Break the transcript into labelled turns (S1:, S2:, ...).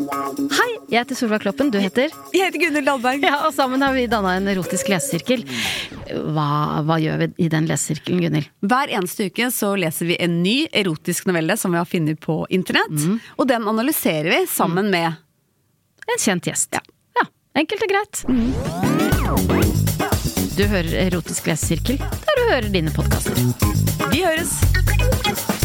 S1: Hei, jeg heter Solveig Kloppen, du heter?
S2: Jeg heter Gunhild Dahlberg.
S1: Ja, og sammen har vi danna en erotisk lesesirkel. Hva, hva gjør vi i den lesesirkelen, Gunhild?
S2: Hver eneste uke så leser vi en ny erotisk novelle som vi har funnet på internett. Og den analyserer vi sammen med
S1: En kjent gjest. Ja. Mm. enkelt og greit. Du hører Erotisk lesesirkel, der du hører dine podkaster.
S2: Vi høres!